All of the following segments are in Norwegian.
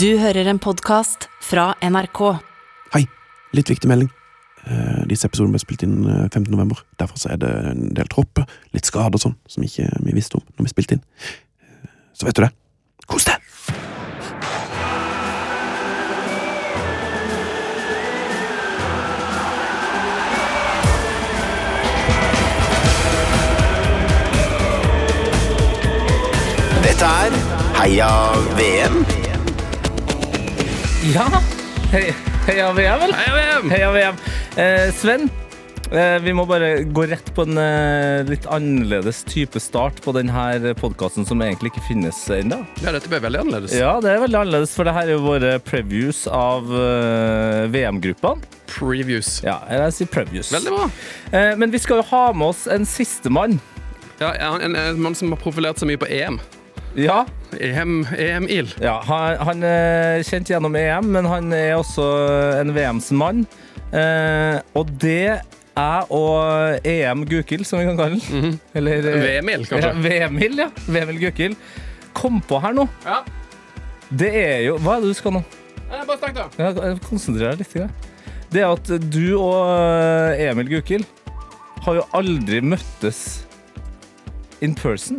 Du hører en podkast fra NRK. Hei, litt viktig melding. Eh, Disse episodene ble spilt inn eh, 15. november. Derfor så er det en del tropper, litt skader og sånn, som ikke vi visste om når vi spilte inn. Eh, Så vet du det. Kos deg! Dette er Heia VM. Ja. Hei- Heia VM, vel? Heia VM! Eh, Sven, eh, vi må bare gå rett på en eh, litt annerledes type start på denne podkasten, som egentlig ikke finnes ennå. Ja, dette ble veldig annerledes. Ja, det er veldig annerledes, for det her er jo våre previews av eh, VM-gruppene. Previews. Ja, eller jeg sier previews. Veldig bra. Eh, men vi skal jo ha med oss en sistemann. Ja, en, en, en mann som har profilert seg mye på E EM. Ja, EM, EM-il. Ja, han, han er kjent gjennom EM, men han er også en VM-mann. Eh, og det er og EM Gukild, som vi kan kalle den. Eller eh, VM-il, kanskje. Ja, VM-il, ja. VM-il Gukild. Kom på her nå. Ja. Eh, Det er jo Hva er det du skal nå? Bare snakk, da. Ja, Konsentrer deg litt. grann. Det er at du og eh, E Emil Gukild har jo aldri møttes in person.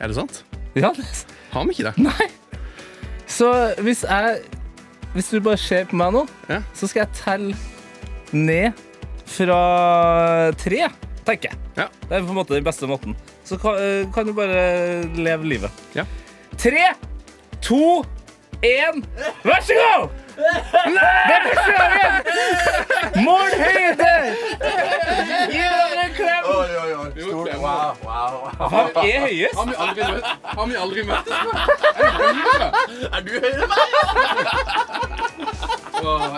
Er det sant? Ja, det Har vi ikke det? Nei. Så hvis jeg Hvis du bare ser på meg nå, Ja. så skal jeg telle ned fra tre, tenker jeg. Ja. Det er på en måte den beste måten. Så kan, eh, kan du bare leve livet. Ja. Tre, to, én, vær så god! Det er første gangen! Mål høyde! Gi hverandre en klem! Han er høyest. Har vi aldri møtt- har vi aldri møttes før? Ja, det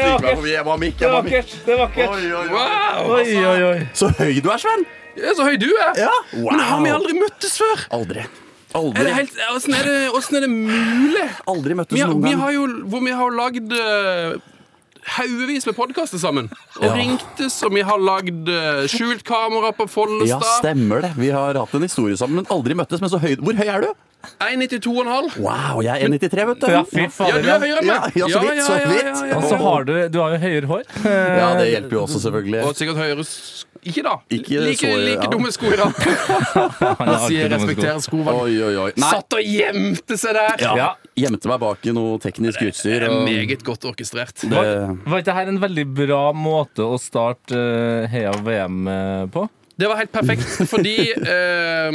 er vakkert. Det er Så vakkert. Det er vakkert. Wow! Oi, oi, oi. høy du er, Sven! Ja, så høy du er. Ja. Men har vi aldri møttes før? Aldri. Er det Aldri, helt, hvordan, er det, hvordan er det mulig? aldri møttes Vi har, noen vi gang. har jo, hvor vi har lagd eh, haugevis med podkaster sammen. Og ringtes, og vi har lagd eh, skjult kamera på Ja, Follestad. stemmer det. Vi har hatt en historie sammen, men aldri møttes. Men så høy Hvor høy er du? 1,92,5. Wow, jeg er 1,93, vet du. Ja, fy Ja, fader. du er høyere enn meg. Ja, ja, så vidt, så vidt. ja. Og så har du, du har jo høyere hår. Eh, Ja, det hjelper jo også, selvfølgelig. Og sikkert høyere s- Ikke da. Ikke like så- ja. like dumme sko i dag. han er Han sier alltid noe som går. respekterer skovalg. Oi, oi, oi. Nei, Satt og gjemte seg der! ja. Ja. gjemte meg bak i noe teknisk Det utstyr. er og- meget godt orkestrert. Var, Det- var ikke dette en veldig bra måte å starte eh, Heia VM eh, på? Det var helt perfekt, fordi eh,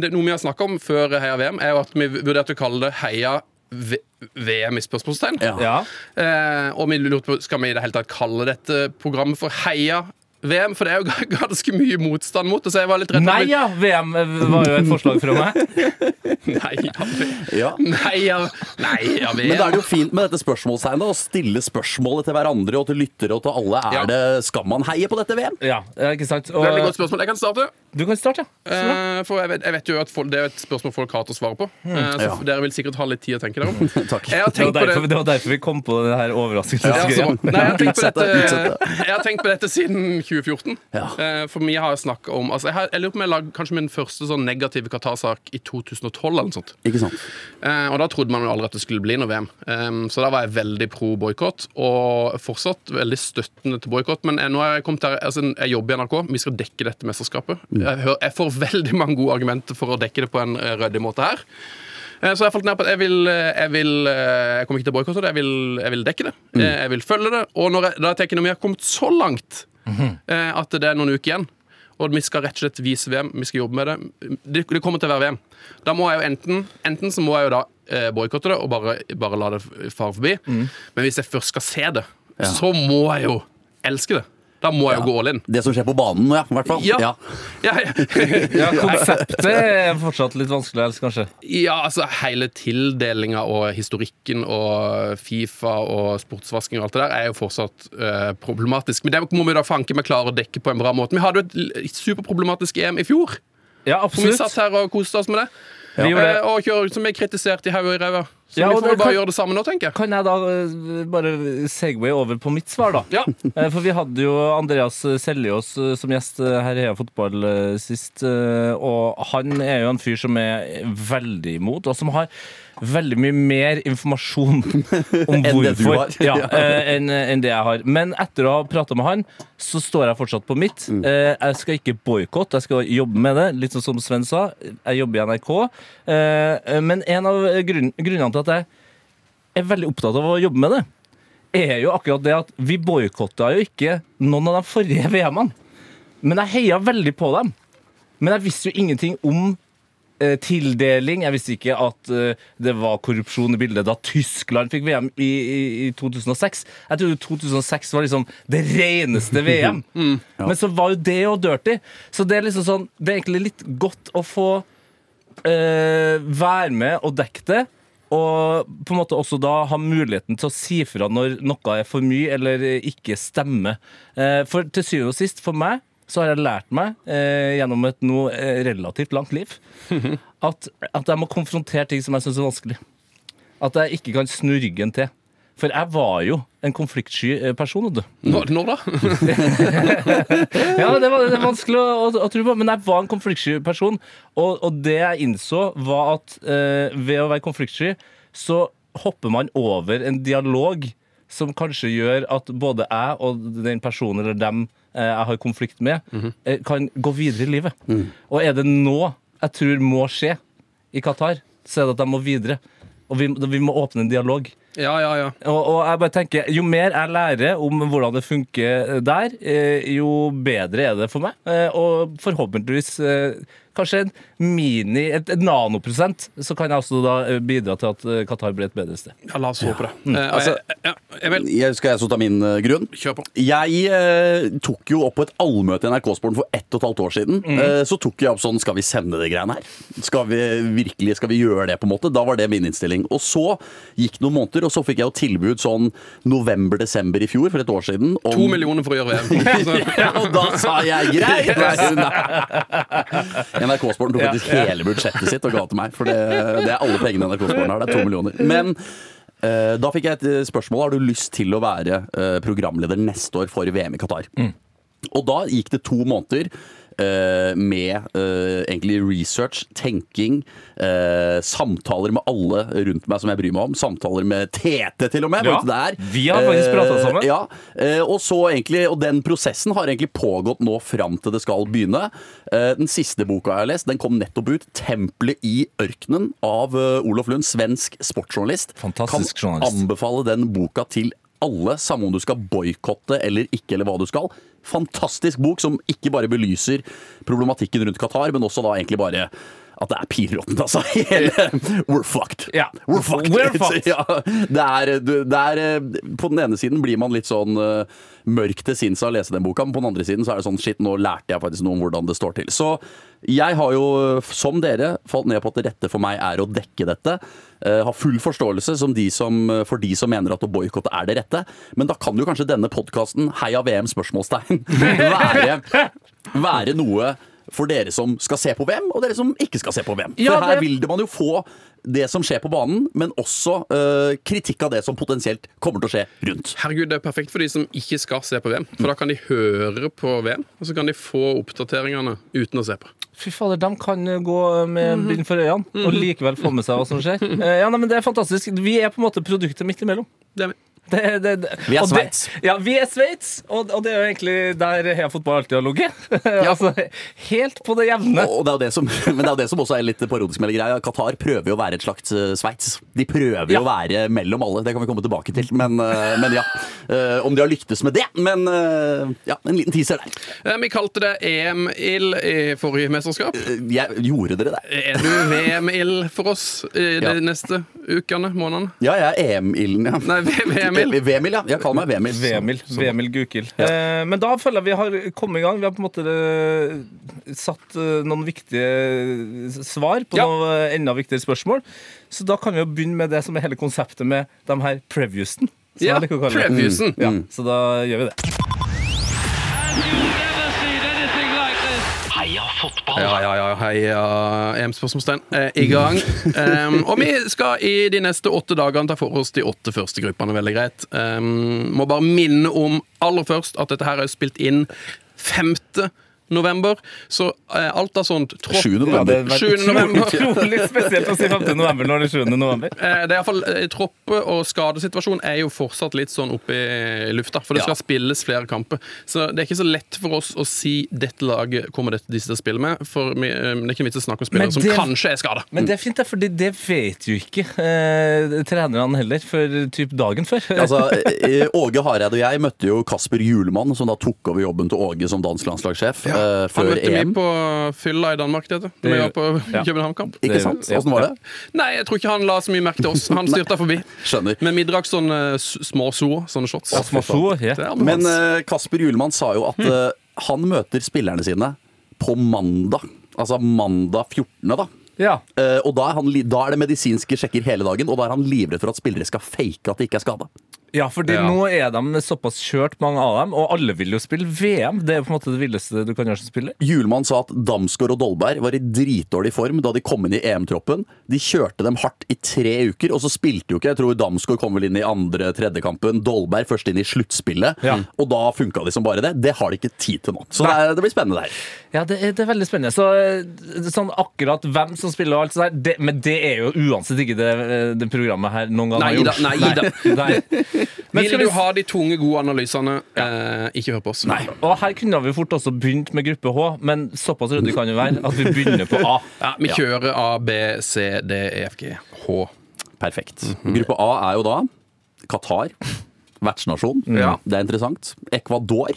det, noe vi har snakka om før Heia VM, er jo at vi vurderte å kalle det Heia v VM i spørsmålstegn. Ja. Ja. Eh, og vi lurte på skal vi i det hele tatt kalle dette programmet for Heia VM, for det er jo ganske mye motstand mot det, så jeg var litt redd for Nei at vi- ja! VM var jo et forslag fra meg. Nei, ja, v- Ja. nei, ja, nei, ja, VM. Men da er det jo fint med dette spørsmålstegnet å stille spørsmålet til hverandre og til lyttere og til alle. Er Ja. det, Skal man heie på dette VM? Ja, eh, ikke sant? Veldig godt Og, spørsmål. Jeg kan starte. du kan starte, ja. Eh, for jeg vet, jeg vet jo at folk, Det er jo et spørsmål folk har til å svare på. Eh, så Hmm. Ja. Dere vil sikkert ha litt tid å tenke dere om. Takk. Jeg har Det var, tenkt på derfor, det det var derfor vi kom på det her Ja, så overraskelsesgreia. bra. Nei, jeg har tenkt på Utsett det, dette, utsett jeg har tenkt på dette siden 2014. Ja. Eh, For vi har snakket om altså jeg, har, jeg lurer på om jeg lagde kanskje min første sånn negative Qatar-sak i 2012. eller noe sånt. Ikke sant? Eh, Og da trodde man jo aldri at det skulle bli noe VM. Eh, Så da var jeg veldig pro boikott, og fortsatt veldig støttende til boikott. Men jeg, nå har jeg kommet her, altså jeg jobber i NRK, vi skal dekke dette mesterskapet. Jeg, hører, jeg får veldig mange gode argumenter for å dekke det på en eh, ryddig måte her. Eh, Så jeg har falt ned på at jeg vil, jeg vil eh, Jeg kommer ikke til å boikotte det, jeg vil, jeg vil dekke det. Eh, Jeg vil følge det. Og når jeg, da tenker jeg når vi har kommet så langt eh, at det er noen uker igjen, og vi skal rett og slett vise VM, vi skal jobbe med det Det, det kommer til å være VM. Da må jeg jo enten Enten så må jeg jo da eh, boikotte det og bare, bare la det fare forbi. Men hvis jeg først skal se det, så må jeg jo elske det. Da må jeg jo gå all in. Det som skjer på banen, ja. I hvert fall. Ja. Ja. Ja, ja. Ja, konseptet er fortsatt litt vanskelig å elske, kanskje. Ja, altså hele tildelinga og historikken og Fifa og sportsvasking og alt det der er jo fortsatt eh, problematisk. Men det må vi da fanke meg klare å dekke på en bra måte. Vi hadde jo et l- superproblematisk EM i fjor. Ja, Hvor vi absolutt. satt her og koste oss med det. Vi gjorde det. Eh, og kjører, som vi kritiserte i haug og i ræva. Så Ja, vi og får det vel bare kan- gjøre det samme nå, tenker jeg. Kan jeg da eh, bare segway over på mitt svar, da? Ja. Eh, For vi hadde jo Andreas Seljås eh, som gjest eh, her i Heia Fotball eh, sist. eh, Og han er jo en fyr som er veldig imot, og som har veldig mye mer informasjon om Enn det du hvorfor har. ja, eh, enn enn det jeg har. Men etter å ha prata med han, så står jeg fortsatt på mitt. Mm. Eh, Jeg skal ikke boikotte, jeg skal jobbe med det. Litt sånn som Sven sa, jeg jobber i NRK. Eh, Men en av grunn- grunnene til at jeg er veldig opptatt av å jobbe med det, er jo akkurat det at vi boikotta jo ikke noen av de forrige VM-ene. Men jeg heia veldig på dem. Men jeg visste jo ingenting om eh, tildeling. Jeg visste ikke at eh, det var korrupsjon i bildet da Tyskland fikk VM i, i, i 2006. Jeg trodde 2006 var liksom det reneste VM. Men så var jo det jo dirty. Så det er liksom sånn Det er egentlig litt godt å få eh, være med og dekke det. Og på en måte også da ha muligheten til å si fra når noe er for mye eller ikke stemmer. Eh, For til syvende og sist, for meg, så har jeg lært meg eh, gjennom et nå eh, relativt langt liv at, at jeg må konfrontere ting som jeg syns er vanskelig. At jeg ikke kan snu ryggen til. For jeg var jo en konfliktsky eh, person. vet Du. Når, når da? Ja, det var, det er vanskelig å, å, å tro på, men jeg var en konfliktsky person. Og, og det jeg innså, var at eh, ved å være konfliktsky, så hopper man over en dialog som kanskje gjør at både jeg og den personen eller dem eh, jeg har konflikt med, eh, kan gå videre i livet. Og er det nå jeg tror må skje i Qatar, så er det at de må videre. Og vi, vi må åpne en dialog. Ja, ja, ja. Og, og jeg bare tenker, Jo mer jeg lærer om hvordan det funker der, eh, jo bedre er det for meg. Eh, Og forhåpentligvis eh, kanskje en mini, et, et nanoprosent, så kan jeg også da eh, bidra til at eh, Qatar blir et bedre sted. ja la oss håpe det. Mm. Eh, Altså- eh, ja, Emil, Jeg, skal jeg så ta min eh, grunn? kjør på. Jeg eh, tok jo opp på et allmøte i NRK-sporten for ett og et halvt år siden. Mm. Eh, så tok jeg opp sånn Skal vi sende det greiene her? Skal vi virkelig skal vi gjøre det? på en måte? Da var det min innstilling. Og så gikk det noen måneder, og så fikk jeg jo tilbud sånn november-desember i fjor, for et år siden. om- To millioner for å gjøre Altså, VM. Så- ja, og da sa jeg greit! NRK-sporten tok faktisk hele budsjettet sitt og ga til meg. For det, det er alle pengene NRK-sporten har. Det er to millioner. Men eh, da fikk jeg et eh, spørsmål. Har du lyst til å være eh, programleder neste år for VM i Qatar? Mm. Og da gikk det to måneder eh, med eh, egentlig research, tenking, eh, samtaler med alle rundt meg som jeg bryr meg om. Samtaler med Tete, til og med. Ja, vet du det er. vi har faktisk pratet sammen. Eh, Ja, Eh, Og, så egentlig, og den prosessen har egentlig pågått nå fram til det skal begynne. Eh, Den siste boka jeg har lest, den kom nettopp ut. 'Tempelet i ørkenen' av eh, Olof Lund, svensk sportsjournalist. Fantastisk kan journalist. anbefale den boka til alle, samme om du skal boikotte eller ikke, eller hva du skal. Fantastisk bok som ikke bare belyser problematikken rundt Qatar, men også da egentlig bare at det er pinråttent, altså. Hele, we're fucked. Ja. We're fucked. We're fucked. Ja, det er, du- det er eh, På den ene siden blir man litt sånn eh, mørk til sinns av å lese den boka, men på den andre siden så er det sånn shit, nå lærte jeg faktisk noe om hvordan det står til. Så jeg har jo, eh, som dere, falt ned på at det rette for meg er å dekke dette. Eh, har full forståelse som de som, eh, for de som mener at å boikotte er det rette, men da kan jo kanskje denne podkasten, Heia VM? spørsmålstegn, være, være noe for dere som skal se på VM, og dere som ikke skal se på VM. For Ja, her det- vil vil man jo få det som skjer på banen, men også eh, kritikk av det som potensielt kommer til å skje rundt. Herregud, Det er perfekt for de som ikke skal se på VM. For Da kan de høre på VM, og så kan de få oppdateringene uten å se på. Fy fader, de kan eh, gå Mhm. med bind for øynene og likevel få med seg hva som skjer. Eh, Ja, nei, men Det er fantastisk. Vi er på en måte produktet midt imellom. Det er vi. Det, det, det. Vi er og det- Sveits. Ja, vi er Sveits, og, og det er jo egentlig der Heia Fotball alltid har ligget. altså, helt på det jevne. Og det er jo det som, men det er jo det som også er litt parodisk med hele greia. Qatar prøver jo å være et slags eh, Sveits. De prøver jo å være mellom alle, det kan vi komme tilbake til. Men, eh, men ja. Eh, om de har lyktes med det. Men eh, ja, en liten teaser der. Eh, Vi kalte det EM-ild i forrige mesterskap. Eh, Jeg, gjorde dere det? Er du VM-ild for oss i de Ja. neste ukene, månedene? Ja, jeg er EM-ilden, ja. Nei, VM-ild. Vemil, ja. Jeg kaller meg Vemil. Vemil, Vemil Gukild. Eh, men da føler jeg vi har kommet i gang. Vi har på en måte eh, satt eh, noen viktige eh, s- svar på Ja. noen eh, enda viktigere spørsmål. Så da kan vi jo begynne med det som er hele konseptet med de her previewsen. som Ja, jeg liker å kalle det. previewsen. Ja, Mm. så da gjør vi det. You've never seen anything like this. fotball. Ja, ja, ja, heia EM-spørsmålstegn. Eh, I gang. Um, og vi skal i de neste åtte dagene ta for oss de åtte første gruppene. Veldig greit. Um, må bare minne om aller først at dette her er spilt inn 5. november. Så eh, alt av sånt tropp- 7. november. Ja, det er- 7. november. Utrolig spesielt å si 5. november når det er 7. november. Eh, Det er i hvert fall, eh, Troppe- og skadesituasjonen er jo fortsatt litt sånn oppe i lufta. For det skal spilles flere kamper. Så det er ikke så lett for oss å si dette laget kommer dette de til å spille med. For vi, eh, det er ikke vits å snakke om Men spillere som det- kanskje er skada. Men det er fint, da, fordi det vet jo ikke eh, trenerne heller før typ dagen før. Altså, eh, Åge Hareide og jeg møtte jo Kasper Julemann, som da tok over jobben til Åge som dansk landslagssjef eh, Han før møtte vi EM. på fylla i Danmark, det heter. Når vi var på Ja. København-kamp. Ikke sant? Åssen var det? Nei, jeg tror ikke han la så mye merke til oss. Han styrta forbi. Skjønner. Men vi drakk sånne eh, s- små soer, sånne shots. Osman Soe, ja. Det er Men men, eh, Kasper Julemann sa jo Hmm. at eh, han møter spillerne sine på mandag. Altså mandag 14., da. ja. Eh, og da er, han, li- da er det medisinske sjekker hele dagen, og da er han livredd for at spillere skal fake at de ikke er skada. Ja, fordi Ja. nå er de såpass kjørt, mange av dem, og alle vil jo spille VM. Det er jo på en måte det villeste du kan gjøre som spiller. Julemann sa at Damsgaard og Dolberg var i dritdårlig form da de kom inn i EM-troppen. De kjørte dem hardt i tre uker, og så spilte jo ikke. Jeg tror Damsgaard kom vel inn i andre-tredje kampen. Dolberg først inn i sluttspillet. Ja. Og da funka de som bare det. Det har de ikke tid til nå. Så det, er, det blir spennende, det her. Ja, det er, det er veldig spennende. Så eh, sånn akkurat hvem som spiller og alt sånt der, det, men det er jo uansett ikke det, eh, det programmet her noen gang har Nei da, gjort. nei da. Nei. Men skal Vil vi du ha de tunge, gode analysene, eh, ikke hør på oss. Nei. Og her kunne vi fort også begynt med gruppe H, men såpass ryddig kan vi være at vi begynner på A. Ja, vi kjører A, B, C, D, E, F, G, H. Perfekt. Mhm. Gruppe A er jo da Qatar. Vertsnasjon. Ja. Det er interessant. Ecuador.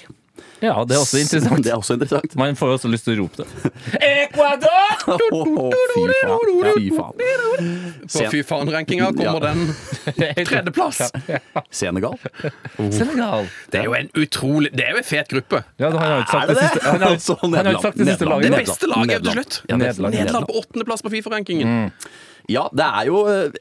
Ja, det er også interessant. Det er også interessant. Man får jo også lyst til å rope det. Ecuador! Åh, fy faen. Ja, fy faen. På Sen- fy faen-rankinga kommer Ja. den. Tredjeplass! Senegal. Senegal. Det er jo en utrolig Det er jo en fet gruppe. Ja, han har jo ikke Er sagt det det det? siste, han har, Så han har Nederland, ikke sagt det siste Nederland, laget. Det Nederland. beste laget til Nederland. slutt. Ja, Nederland. Nederland Mm. på åttendeplass på Fifa-rankingen. Ja, det er jo eh,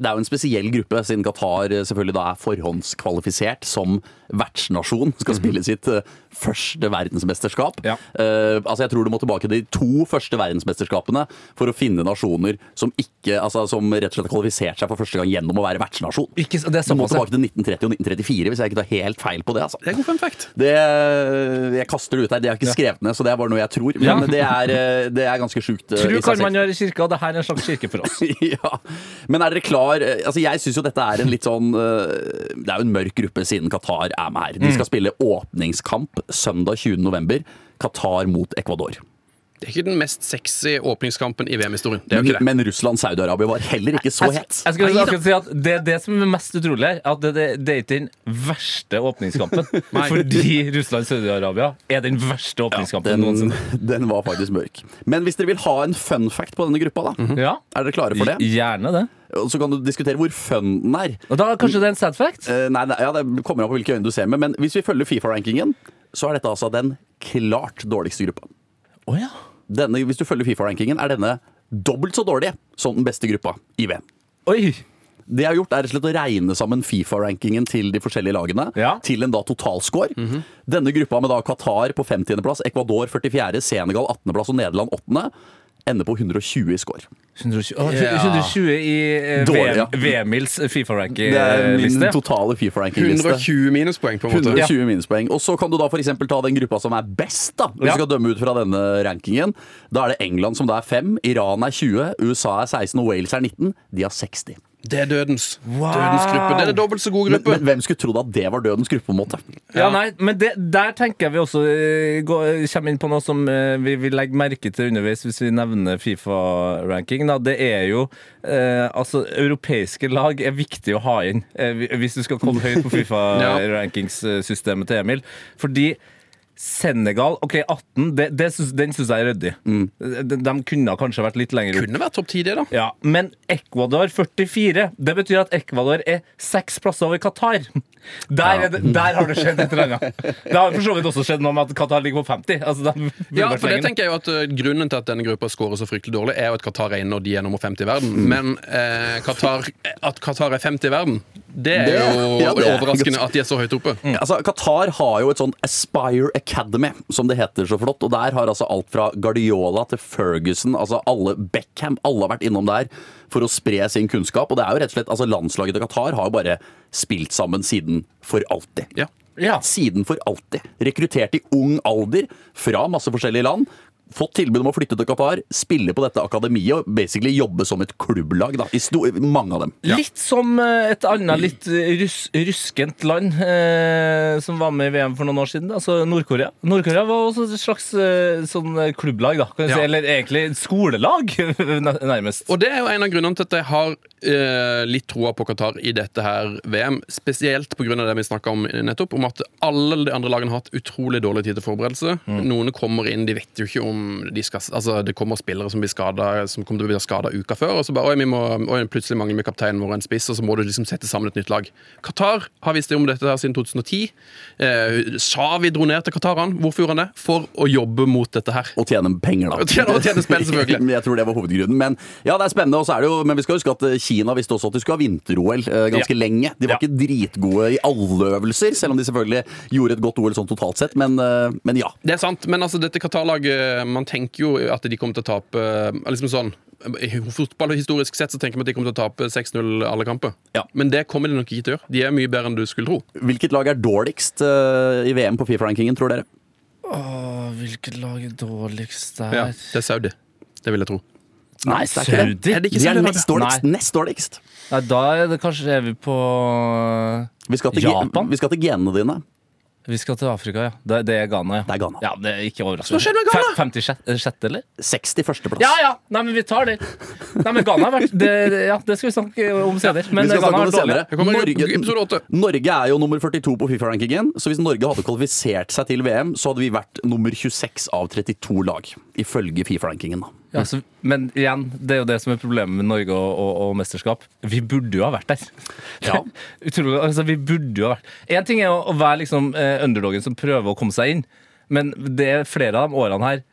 Det er jo en spesiell gruppe, siden Qatar eh, selvfølgelig da er forhåndskvalifisert som vertsnasjon. Skal spille sitt eh, første verdensmesterskap. Mhm. Ja. Eh, altså Jeg tror du må tilbake til de to første verdensmesterskapene for å finne nasjoner som ikke Altså som rett og slett har kvalifisert seg for første gang gjennom å være vertsnasjon. Ikke så- det er Du må såpass, ja. tilbake til 1930 og 1934, hvis jeg ikke tar helt feil på det. altså Det er god fun fact. det, eh, jeg kaster det ut her. Det er ikke skrevet ned, så det er bare noe jeg tror. Men Ja. det, er, eh, det er ganske sjukt. eh, Tro i seg kan selv. man gjøre i kirka, og det her er en slags kirke for oss. ja. Men er dere klar Altså Jeg syns jo dette er en litt sånn eh, Det er jo en mørk gruppe siden Qatar er med her. De skal spille åpningskamp søndag 20.11. Qatar mot Ecuador. Det er ikke den mest sexy åpningskampen i VM-historien. Det er jo Men, ikke det. men Russland-Saudi-Arabia var heller ikke så Jeg, het. jeg skulle akkurat si at Det er det som er mest utrolig her. At det, det, det er ikke den verste åpningskampen. fordi Russland-Saudi-Arabia er den verste åpningskampen Den, noensinne. den var faktisk mørk. Men hvis dere vil ha en fun fact på denne gruppa, da. Ja, Er dere klare for det? Gjerne det. Og så kan du diskutere hvor fun den er. Og da Kanskje det er en sad fact? Eh, nei, nei, ja, Det kommer an på hvilke øyne du ser med, men hvis vi følger Fifa-rankingen, så er dette altså den klart dårligste gruppa. Å ja. Denne, hvis du følger Fifa-rankingen, er denne dobbelt så dårlig som den beste gruppa i VM. Oi! Det jeg har gjort, er rett og slett å regne sammen Fifa-rankingen til de forskjellige lagene Ja. Mhm. til en da totalscore. Denne gruppa med da Qatar på 50.-plass, Ecuador 44., Senegal 18.-plass og Nederland 8. ender på 120 i score. 120, å, Ja. 120 i eh, Dårlig, ja. VM VMils Eh, Det er min Fifa-ranking-liste. totale Fifa-ranking-liste. 120 minuspoeng, på en måte. 120 minuspoeng. Og så kan du da for eksempel ta den gruppa som er best, da. Hvis Ja. du skal dømme ut fra denne rankingen. Da er det England som da er 5, Iran er 20, USA er 16 og Wales er 19. De har 60. Det er dødens. Dødens gruppe. Det er en dobbelt så god Men, gruppe. men hvem skulle trodd at det var dødens gruppe, på en måte? Ja, nei, men det, der tenker jeg vi også eh, går, kommer inn på noe som eh, vi vil legge merke til underveis hvis vi nevner Fifa-ranking. da. Det er jo eh, Altså, europeiske lag er viktig å ha inn eh, vi- hvis du skal komme høyt på Fifa-rankingssystemet til Emil. Fordi Senegal, OK, 18, det, det syns- den syns jeg er ryddig. De, de kunne kanskje vært litt lenger opp. Kunne vært topp ti, det, da. Ja, Men Ecuador 44. Det betyr at Ecuador er seks plasser over Qatar. Der, er det, der har det skjedd et eller annet. Det har for så vidt også skjedd noe med at Qatar ligger på 50. Altså, de burde Ja, vært for det lenger. tenker jeg jo at ø, Grunnen til at denne gruppa scorer så fryktelig dårlig, er jo at Qatar er inne, og de er nummer 50 i verden. Men eh, Qatar, at Qatar er 50 i verden, Det er Det- jo ja, det er overraskende at de er så høyt oppe. Altså, Qatar har jo et sånn Aspire Academy, som det heter så flott. Og der har altså alt fra Guardiola til Ferguson, altså alle Beckham, alle har vært innom der for å spre sin kunnskap. Og det er jo rett og slett, altså landslaget til Qatar har jo bare spilt sammen siden for alltid. Ja. Ja. Siden for alltid. Rekruttert i ung alder fra masse forskjellige land. Fått tilbud om å flytte til Qatar, spille på dette akademiet og basically jobbe som et klubblag. Da, i sto mange av dem. Litt som eh, et annet litt rus ruskent land eh, som var med i VM for noen år siden, altså Nord-Korea. Nord-Korea var også et slags eh, sånn eh, klubblag, da, kan du Ja. si, eller egentlig et skolelag, nær- nærmest. Og det er jo en av grunnene til at jeg har eh, litt troa på Qatar i dette her VM. Spesielt pga. det vi snakka om nettopp, om at alle de andre lagene har hatt utrolig dårlig tid til forberedelse. Noen kommer inn, de vet jo ikke om de skal Altså, det kommer spillere som blir skadet, Som kommer til å bli skada uka før, og så bare Oi, vi må, oi plutselig mangler vi kapteinen vår og en spiss, og så må du liksom sette sammen et nytt lag. Qatar har visst om dette her siden 2010. Eh, Shawi dro ned til Qatar, han. Hvorfor gjorde han det? For å jobbe mot dette her. Og tjene penger, da. Og tjene- og tjene spill, selvfølgelig. Men jeg tror det var hovedgrunnen. Men ja, det er spennende. Og så er det jo, men vi skal huske at eh, Kina visste også at de skulle ha vinter-OL eh, ganske lenge. De var Ja. ikke dritgode i alle øvelser, selv om de selvfølgelig gjorde et godt OL sånn totalt sett. Men, eh, men ja. Det er sant, men altså dette Qatar-laget Man tenker jo at de kommer til å tape eh, liksom sånn, eh, Fotballhistorisk sett så tenker man at de kommer til å tape 6-0 alle kamper. Ja. Men det kommer de nok ikke til å gjøre. De er mye bedre enn du skulle tro. Hvilket lag er dårligst eh, i VM på Fifa-rankingen, tror dere? Åh, hvilket lag er dårligst der? Ja, det er Saudi. Det vil jeg tro. Nei, det er ikke det. Saudi? Er det ikke De er Saudi-Arabia? nest dårligst. Nest dårligst. Nei, da er det kanskje er vi på Vi skal, til, Japan? vi skal til genene dine. Vi skal til Afrika, ja. Det, det er Ghana, ja. Det er Ghana. Ja, det er ikke overraskende. Hva skjer med Ghana? Fem- 56., eh, sjette, eller? 61. plass. Ja, ja! Nei, men vi tar det. Nei, men Ghana har vært det, det- Ja, det skal vi snakke om senere. Men Vi skal Ghana har snakke om vært det senere. dårligere. Det kommer i episode åtte. Norge er jo nummer 42 på Fifa-rankingen, så hvis Norge hadde kvalifisert seg til VM, så hadde vi vært nummer 26 av 32 lag, ifølge Fifa-rankingen. da. Ja, så, men igjen, det er jo det som er problemet med Norge og, og, og mesterskap. Vi burde jo ha vært der. Ja. Utrolig, altså vi burde jo ha vært En ting er å, å være liksom eh, underdogen som prøver å komme seg inn, men det er flere av de årene her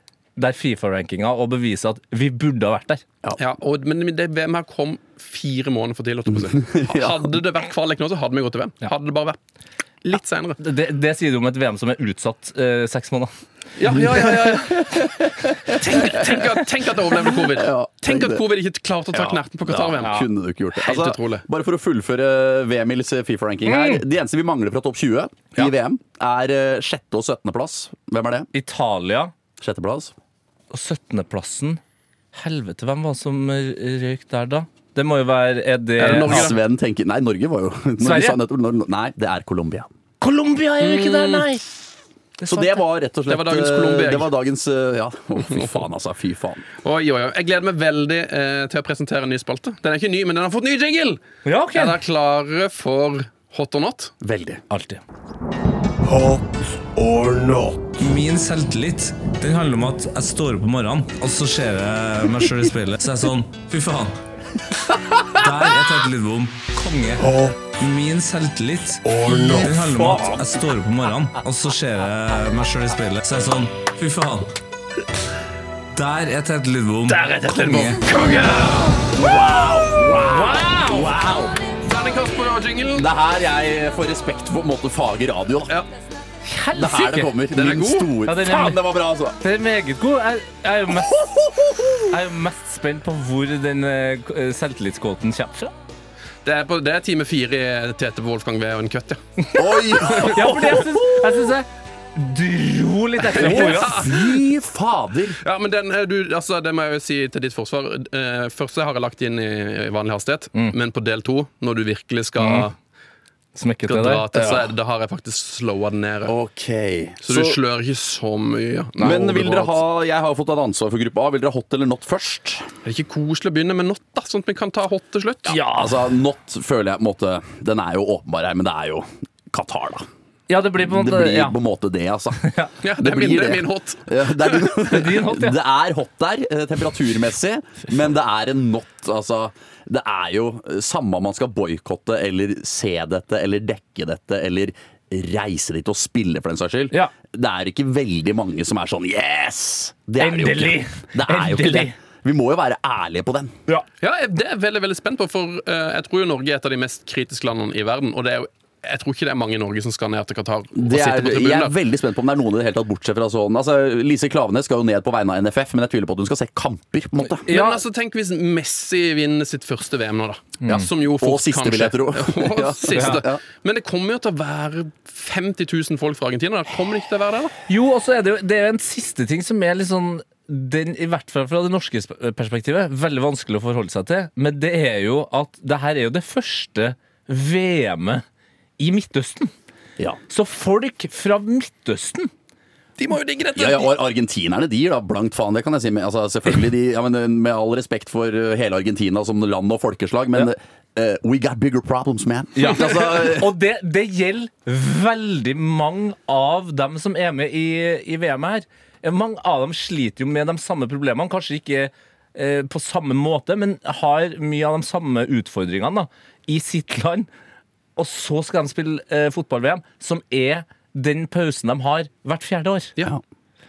der Fifa-rankinga og beviser at vi burde ha vært der. Ja, og, men det VM her kom fire måneder for tidlig. holdt jeg på å si. Ja. Hadde det vært kvalik nå, så hadde vi gått til VM. Hadde det bare vært litt seinere. Det, det, det sier du om et VM som er utsatt eh, seks måneder. Ja, ja, ja, ja, ja. Tenk, tenk, at, tenk at jeg overlevde covid. Ja, Tenk at det. covid ikke klarte å ta knerten på Qatar-VM. Ja, Kunne du ikke gjort det. Altså, Helt utrolig. Bare for å fullføre VM-ils Fifa-ranking her. De eneste vi mangler fra topp 20 i VM, er 6. og 17. plass. Hvem er det? Italia 6. plass. og 17.-plassen Helvete, hvem var det som eh, røyk der, da? Det må jo være Er det, Er det Norge, da? Eh, Sven tenker Nei, Norge var jo Norge Sverige? sa nettopp- Nor- Nei, det er Colombia. Colombia er jo ikke der, nei! Mm. Så det var rett og slett Det var dagens eh, Colombia. Det var dagens eh, Ja, Å, fy faen, altså. Fy faen. Oi, oi, oi. Jeg gleder meg veldig eh, til å presentere en ny spalte. Den er ikke ny, men den har fått ny jingle! Ja, ok. Er dere klare for Hot or not? Veldig. Alltid. Min selvtillit den handler om at jeg står opp om morgenen, og så ser jeg meg sjøl i speilet. Så er jeg sånn Fy faen. Der er Tete Lidbom konge. Min selvtillit den handler om at jeg står opp om morgenen, og så ser jeg meg sjøl i speilet. Så er jeg sånn Fy faen. Der er Tete Lidbom konge. Terningkast på jinglen. Det er her jeg får respekt for på en måte faget radio. Da. Ja. Det er her det kommer. Den er Min god. store Ja, den er- Faen, det var bra, altså! Det er meget god. Jeg, jeg, er jo mest, jeg er jo mest spent på hvor den eh, k- eh, selvtillitsquoten kommer fra. Det er, på, det er time fire i Tete på Wolfgang V og en køtt, ja. Oi! Ja, for jeg syns jeg, synes jeg dro litt ekstra på ordet. Fy fader! ja men den, eh, du, altså, det må jeg jo si til ditt forsvar. Eh, første har jeg lagt inn i, i vanlig hastighet, men på del to, når du virkelig skal, Smekket skal det dra til, der. så Ja. er det- da har jeg faktisk slowa den ned. Ok. Så, du slør ikke så mye. Nei, men vil dere overalt. ha Jeg har jo fått et ansvar for gruppe A. Vil dere ha hot eller not først? Er det ikke koselig å begynne med not, da? Sånn at vi kan ta hot til slutt? Ja, altså Not føler jeg på en måte Den er jo åpenbar her, men det er jo Qatar, da. ja, det blir på en Det måte blir ja. på en måte det, altså. Ja, det, er min, blir det er det. min hot. Ja, Det er, din, din hot, ja. det er hot der, eh, temperaturmessig, men det er en not. Altså, det er jo eh, samme om man skal boikotte eller se dette eller dekke dette eller reise dit og spille, for den saks skyld. Ja. Det er ikke veldig mange som er sånn Yes! Det er det jo Endelig! ikke. Det er jo ikke det. Endelig! Vi må jo være ærlige på den. Ja. Ja, jeg- Det er jeg veldig, veldig spent på, for eh, jeg tror jo Norge er et av de mest kritiske landene i verden. Og det er jo, jeg tror ikke det er mange i Norge som skal ned til Qatar og Det sitte er, på jeg er tribunen. der. veldig spent på om det er noen i det hele tatt, bortsett fra sånn Altså, Lise Klavenes skal jo ned på vegne av NFF, men jeg tviler på at hun skal se kamper, på en måte. Men altså, tenk hvis Messi vinner sitt første VM nå, da. Som jo fort Og siste, kan vil jeg skje. tro. og Ja. siste. Ja, ja. Men det kommer jo til å være 50 000 folk fra Argentina. Da. Kommer det ikke til å være det? da? Jo, og så er det jo det er jo en siste ting som er litt sånn den, I hvert fall fra det norske sp- eh, perspektivet, veldig vanskelig å forholde seg til. Men det er jo at det her er jo det første VM-et i Midtøsten. Ja. Så folk fra Midtøsten De må jo digge dette! Ja, ja, og argentinerne de gir da blankt faen, det kan jeg si. Men, altså, selvfølgelig, de, ja, men, Med all respekt for uh, hele Argentina som land og folkeslag, men uh, we got bigger problems, man. altså, Og det, det gjelder veldig mange av dem som er med i, i VM her. Eh, Mange av dem sliter jo med de samme problemene, kanskje ikke eh, på samme måte, men har mye av de samme utfordringene da, i sitt land. Og så skal de spille eh, fotball-VM, som er den pausen de har hvert fjerde år. ja.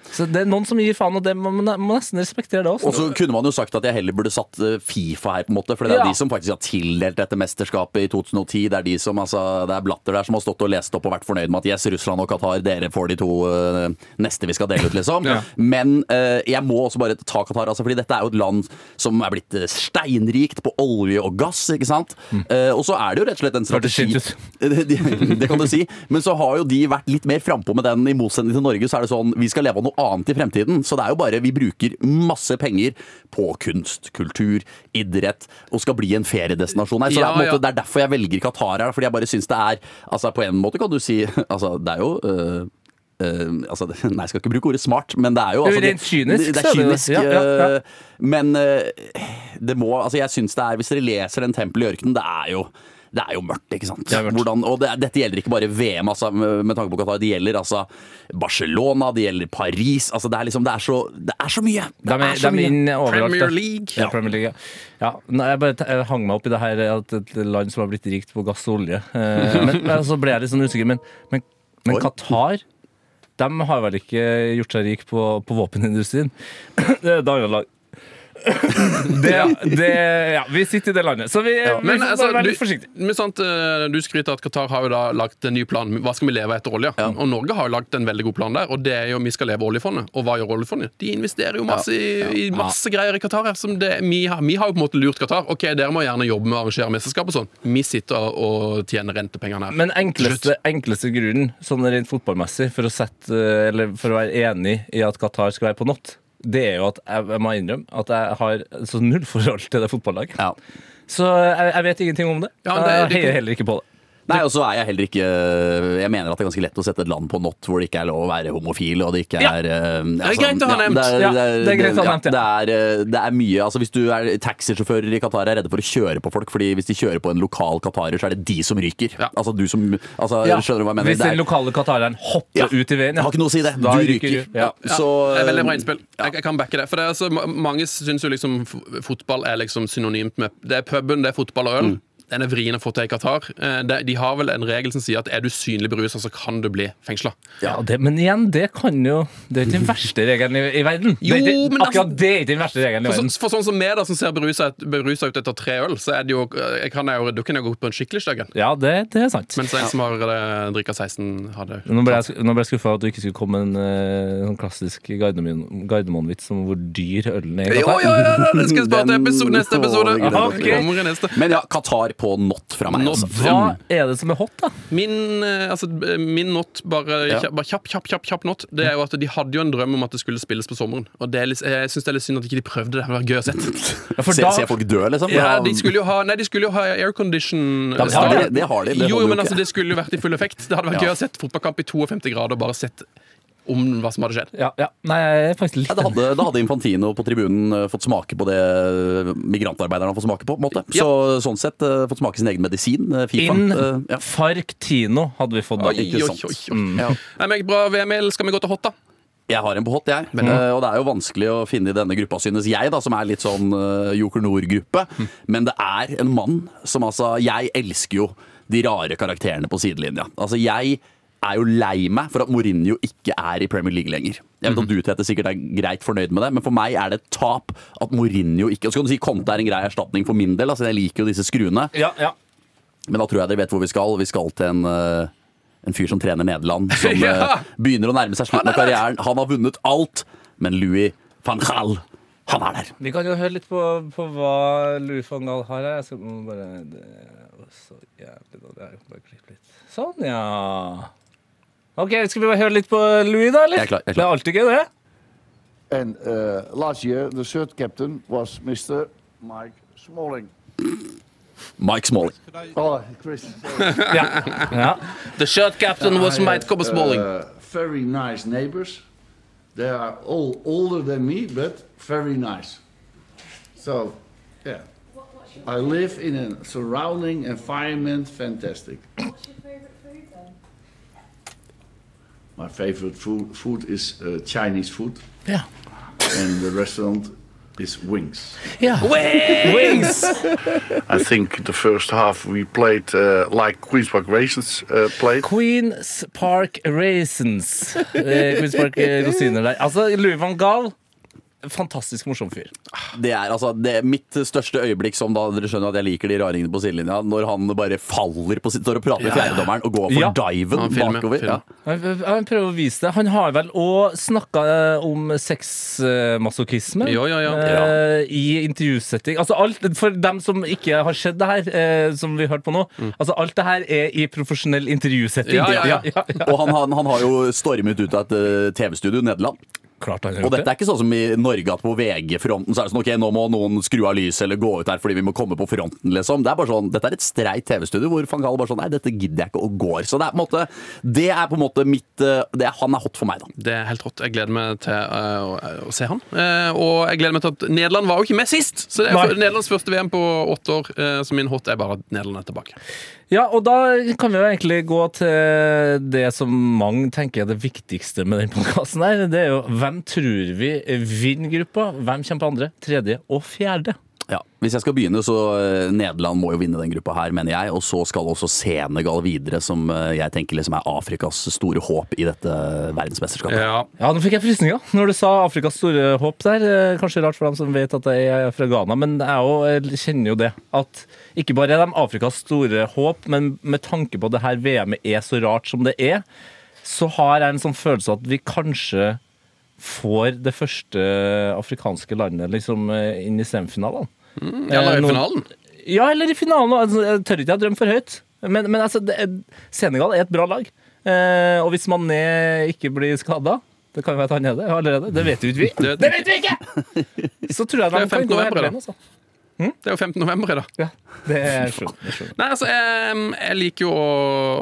Så det er noen som gir faen, og det må, man må nesten respektere det også. Og så kunne man jo sagt at jeg heller burde satt uh, Fifa her, på en måte. For det er Ja. de som faktisk har tildelt dette mesterskapet i 2010. Det er de som, altså, det er blatter der som har stått og lest opp og vært fornøyd med at yes, Russland og Qatar, dere får de to uh, neste vi skal dele ut, liksom. Men uh, jeg må også bare ta Qatar, altså, fordi dette er jo et land som er blitt uh, steinrikt på olje og gass, ikke sant. Uh, og så er det jo rett og slett en Hørtes sint strategi ut. det, det kan du si. Men så har jo de vært litt mer frampå med den. I motsetning til Norge så er det sånn vi skal leve av noe annet i fremtiden. Så det er jo bare vi bruker masse penger på kunst, kultur, idrett og skal bli en feriedestinasjon. her. Så det, er, på en Ja, ja. måte, det er derfor jeg velger Qatar her. Fordi jeg bare syns det er Altså på en måte kan du si Altså det er jo øh, øh, altså, det- nei, jeg skal ikke bruke ordet smart, men det er jo Det er altså, jo rent kynisk, Det, så det er er det det. kynisk Ja, ja, ja. øh, Men øh, det må Altså, jeg syns det er Hvis dere leser Den tempel i ørkenen, det er jo det er jo mørkt, ikke sant? er mørkt. Hvordan, og det, dette gjelder ikke bare VM, altså, med med tanke på Qatar. Det gjelder altså Barcelona, det gjelder Paris. Altså, det, er liksom, det, er så, det er så mye! De Det er, er så de er mye. inne overalt. Premier da. League. Ja. Premier League, ja. ja. Nei, jeg bare t- jeg hang meg opp i det her at et land som har blitt rikt på gass og olje. Eh, men, men så ble jeg litt sånn usikker. Men, men, men Oi. Qatar de har vel ikke gjort seg rik på, på våpenindustrien? Det er et annet lag. Det, det, ja, vi sitter i det landet, så vi, vi Men får altså, bare være du, litt forsiktige. men sant, eh, du skryter at Qatar har jo da lagt en ny plan. Hva skal vi leve etter olje? Og Norge har jo lagt en veldig god plan der, og det er jo vi skal leve av oljefondet. Og hva gjør oljefondet? De investerer jo masse i, i masse greier i Qatar. her, Som det, vi, har, vi har jo på en måte lurt Qatar. Ok, dere må gjerne jobbe med å arrangere mesterskap og sånn. Vi sitter og tjener rentepengene her. Men enkleste, enkleste grunnen, sånn rent fotballmessig, for å, sette, eh, eller for å være enig i at Qatar skal være på not, det er jo at jeg, jeg må innrømme at jeg har så null forhold til det fotballaget. Ja. Så jeg, jeg vet ingenting om det. Ja, men det er- jeg heier heller ikke på det. Nei, og så er jeg heller ikke eh, Jeg mener at det er ganske lett å sette et land på not hvor det ikke er lov å være homofil, og det ikke Ja. er eh, altså, greit å ha ja, nevnt. Ja, det er greit å ha nevnt, ja. det er, eh, det er mye Altså Hvis du er taxisjåfører i Qatar er redde for å kjøre på folk, Fordi hvis de kjører på en lokal qatarer, så er det de som ryker. Ja. Altså du som altså, Skjønner du hva jeg mener? Hvis Det den er- lokale qatareren hopper Ja. ut i veien, Har ikke noe å si det. Du Da ryker. du. Ja. Ja, det er veldig bra innspill. Jeg, jeg kan backe det. For det er altså, ma- mange syns jo liksom f- fotball er liksom synonymt med Det er puben, det er fotball og øl. Den er vrien å få til i Qatar. Eh, det- De har vel en regel som sier at er du synlig beruset, så kan du bli fengsla. Ja, det, men igjen, det kan jo Det er ikke den verste regelen i, i verden. Jo, det, er ikke- men altså- akkurat det er ikke den verste regelen i Altså- For, verden. så, for sånn som meg, da, som ser berusa ut etter tre øl, så er det jo, jeg kan jeg jo, da kan jeg gå ut på en skikkelig støggen. Ja, det, det er sant. Mens en som har eh, drikket 16, har det Nå ble jeg, sk- nå ble jeg skuffa at du ikke skulle komme med en eh, sånn klassisk Gardermoen- Gardermoen-vits om hvor dyr ølen er. i Jo, jo, Qatar. jo, jo, det skal jeg spare til episode, neste episode. Åh, det gleder jeg meg til. Kommer i neste. eh, Men ja, Qatar på not fra meg. Not. Altså. Hva er det som er hot, da? Min, eh, altså, eh, min not, bare, kjapp- bare kjapp, kjapp, kjapp, kjapp not, det er jo at de hadde jo en drøm om at det skulle spilles på sommeren. Og det er litt, jeg syns det er litt synd at ikke de prøvde det. Det var gøy å sett. for Se, da- se folk dø, liksom? Ja, de skulle jo ha, nei, de skulle jo ha aircondition men stadion. det- det har de, jo, det holder jo, men jo ikke. altså, det skulle jo vært i full effekt. Det hadde vært gøy å sett fotballkamp i 52 grader og bare sett om hva som hadde skjedd. Ja, ja. Nei, jeg er faktisk litt Ja, da, hadde, da hadde Infantino på tribunen eh, fått smake på det eh, migrantarbeiderne har fått smake på. på en måte. Så sånn sett eh, fått smake sin egen medisin. eh, Fifa. inn Eh, ja. Farktino hadde vi fått da. Oi, oi, ikke oi, sant. Mm. oi. Nei, men bra VML, skal vi gå til hot, da? Jeg har en på hot, jeg. Eh, og det er jo vanskelig å finne i denne gruppa, synes jeg, da, som er litt sånn eh, Joker Nord-gruppe. Men det er en mann som altså Jeg elsker jo de rare karakterene på sidelinja. Altså, jeg er jo lei meg for at Mourinho ikke er i Premier League lenger. Jeg vet at du Tete, sikkert er greit fornøyd med det, men for meg er det et tap at Mourinho ikke Og så kan du si Conte er en grei erstatning for min del, altså jeg liker jo disse skruene. Ja, ja. Men da tror jeg dere vet hvor vi skal. Vi skal til en, eh, en fyr som trener Nederland. Som Ja! eh, begynner å nærme seg slutten av karrieren. Han har vunnet alt, men Louis van Gaal, han er der. Vi kan jo høre litt på, på hva Louis van Gaal har her. Jeg skal må bare Det var så jævlig dårlig. Jeg må bare klippe litt. Sånn, ja. OK, skal vi bare høre litt på Louis, da, eller? Jeg er klar, jeg er klar. Det er alltid gøy, det. And uh, last year, the third captain was Mr. Mike Smalling. Mike Smalling. Oh, Chris. Ja. ja. The shirt captain was Mike Cobber Smalling. Uh, very nice neighbors. They are all older than me, but very nice. So, yeah. I live in a surrounding environment, fantastic. What's your favourite food then? My favorite food, food is uh, Chinese food, Ja. and the restaurant is Wings. Wings! I think the first half we played uh, like Queens Park Raisins uh, played. Queens Park Raisins. Eh, Queens Park eh, rosiner der. Altså, Louis van Gaal Fantastisk morsom fyr. Det er altså det er mitt største øyeblikk som da dere skjønner at jeg liker de raringene på sidelinja, når han bare faller på sitt Står og prater med fjerdedommeren og går for Ja. diven Han filmer, bakover. filmer. Ja. Han, han prøver å vise det. Han har vel òg snakka om sexmasochisme Ja, ja, ja. eh, i intervjusetting. Altså alt, for dem som ikke har sett det her, eh, som vi hørte på nå Altså Alt det her er i profesjonell intervjusetting. Mm. Ja, ja, ja. Og han, han, han har jo stormet ut av et eh, TV-studio i Nederland. Klart han har Og gjort dette er ikke sånn som i Norge at på VG-fronten så er det sånn ok, nå må noen skru av lyset eller gå ut her fordi vi må komme på fronten, liksom. Det er bare sånn, dette er et streit TV-studio hvor van Gaal bare sånn nei, dette gidder jeg ikke og går. Så det er på en måte, det er på en måte mitt eh, det er, Han er hot for meg, da. Det er helt rått. Jeg gleder meg til eh, å, å se han. Eh, og jeg gleder meg til at Nederland var jo ikke med sist! Så det er Nei. for- Nederlands første VM på åtte år. eh, så min hot er bare at Nederland er tilbake. Ja, og da kan vi jo egentlig gå til det som mange tenker er det viktigste med den podkasten her. Det er jo hvem tror vi vinner gruppa? Hvem kommer på andre, tredje og fjerde? Ja. Hvis jeg skal begynne, så eh, Nederland må jo vinne den gruppa her, mener jeg. Og så skal også Senegal videre, som eh, jeg tenker liksom er Afrikas store håp i dette verdensmesterskapet. Ja. Ja, nå fikk jeg frysninger når du sa Afrikas store håp der. Eh, Kanskje rart for dem som vet at jeg er fra Ghana, men jeg òg kjenner jo det. At ikke bare er de Afrikas store håp, men med tanke på at det her VM-et er så rart som det er, så har jeg en sånn følelse at vi kanskje får det første afrikanske landet liksom eh, inn i semifinalene. Eller Eh, i noen- finalen. Ja, eller i finalen. Altså, jeg tør ikke jeg drømme for høyt. Men, men altså, det, Senegal er et bra lag. Eh, og hvis Mané ikke blir skada Det kan jo være at han er det allerede. Det vet jo ikke vi. Det, Det det vet vi ikke! Så tror jeg Det de er kan 15 gå hele november, veien. Altså. er jo 15. november i dag. Ja, det er skjønt. det er skjønt. Nei, altså, jeg, jeg liker jo å,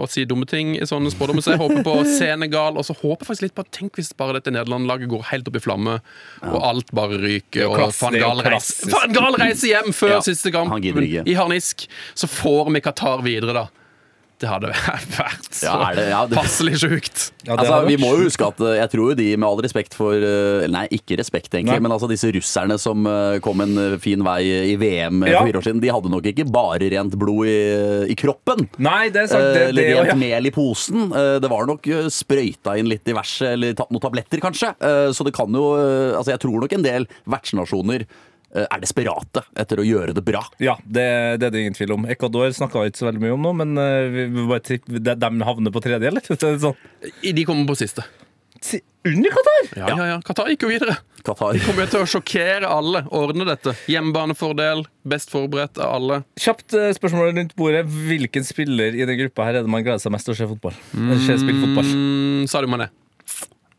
å si dumme ting i sånne spådommer, så jeg håper på Senegal. Og så håper jeg faktisk litt på Tenk hvis bare dette Nederland-laget går helt opp i flamme, og alt bare ryker, og klass- van det er jo Gaal reiser, klassisk. Van Gaal reiser hjem før Ja, siste kamp han gidder ikke. i harnisk. Så får vi Qatar videre, da. Det hadde vært så Ja, er det- ja, det- passelig sjukt. Ja, det Altså, har vi vært må jo huske at eh, jeg tror jo de, med all respekt for eh, eller Nei, ikke respekt, egentlig, Nei. men altså disse russerne som eh, kom en eh, fin vei i VM Ja. for fire år siden, de hadde nok ikke bare rent blod i, i kroppen. Nei, det er sant. Eh, Det, Eller det, rent ja. mel i posen. Eh, Det var nok eh, sprøyta inn litt diverse, eller tatt noen tabletter, kanskje. Eh, Så det kan jo eh, Altså, jeg tror nok en del vertsnasjoner eh, er desperate etter å gjøre det bra. Ja, det, det er det ingen tvil om. Ecuador snakka vi ikke så veldig mye om nå, men eh, vi, vi bare tipp, de, de havner på tredje, eller? Så det er Sånn. I- De kommer på siste. Si- Under Qatar! Ja, ja, ja. Qatar gikk jo videre. Qatar. Kommer jo til å sjokkere alle. Ordne dette. Hjemmebanefordel. Best forberedt av alle. Kjapt eh, spørsmål rundt bordet. Hvilken spiller i den gruppa her er det man gleder seg mest til å se fotball? Eller Se spille fotball? Mm, Sadio Mané.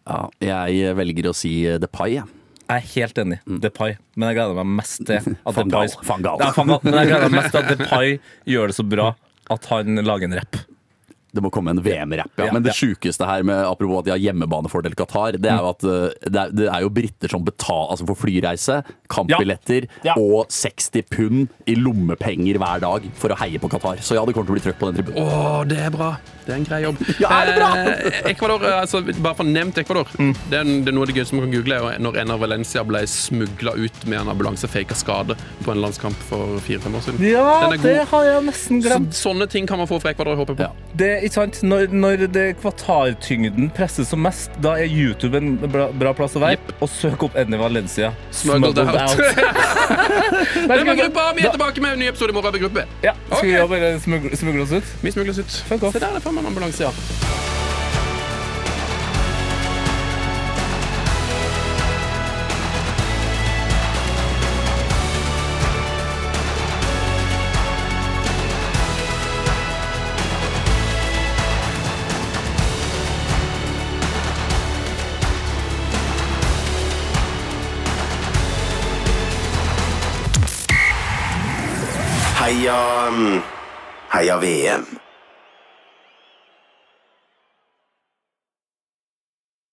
Ja, jeg velger å si eh, The Pie, jeg. Jeg er helt enig. Mm. Depay. Men jeg gleder meg mest til at Van Depay Gaal. Van Gaal. Ja, Van Gaal. Men jeg gleder meg mest til at Depay gjør det så bra at han lager en rapp. Det må komme en VM-rapp, ja. Ja, Men det ja. Mm. sjukeste her, med, apropos at de har hjemmebanefordel Qatar, det er jo at eh, det er, det er jo briter som betaler altså for flyreise, kampbilletter Ja. Ja. og 60 pund i lommepenger hver dag for å heie på Qatar. Så ja, det kommer til å bli trøkk på den tribunen. Å, det er bra. Det er en grei jobb. Ja, er det bra? Eh, Ecuador, eh, altså, bare for nevnt Ecuador. Det, er, en- det er noe av det gøyeste man kan google, er jo når en av Valencia ble smugla ut med en ambulanse faka skade på en landskamp for fire-fem år siden. Ja, Den er god. det har jeg nesten Så, glemt. sånne ting kan man få fra Ecuador, håper jeg på. Ja. Det er ikke sant? Når, når det kvatartyngden presses som mest, da er YouTube en bra, bra plass å være. Og søk opp Edny Valencia. Smuggled out. Nei, skal vi ikke- Røvergruppa, vi da- er tilbake med en ny episode i morgen. Røvergruppe. Ja, skal vi Ok. da bare smugle, smugle oss ut? Vi smugles ut. Se Fuck off. der, det er faen meg en ambulanse, ja. Heia mm, Heia VM.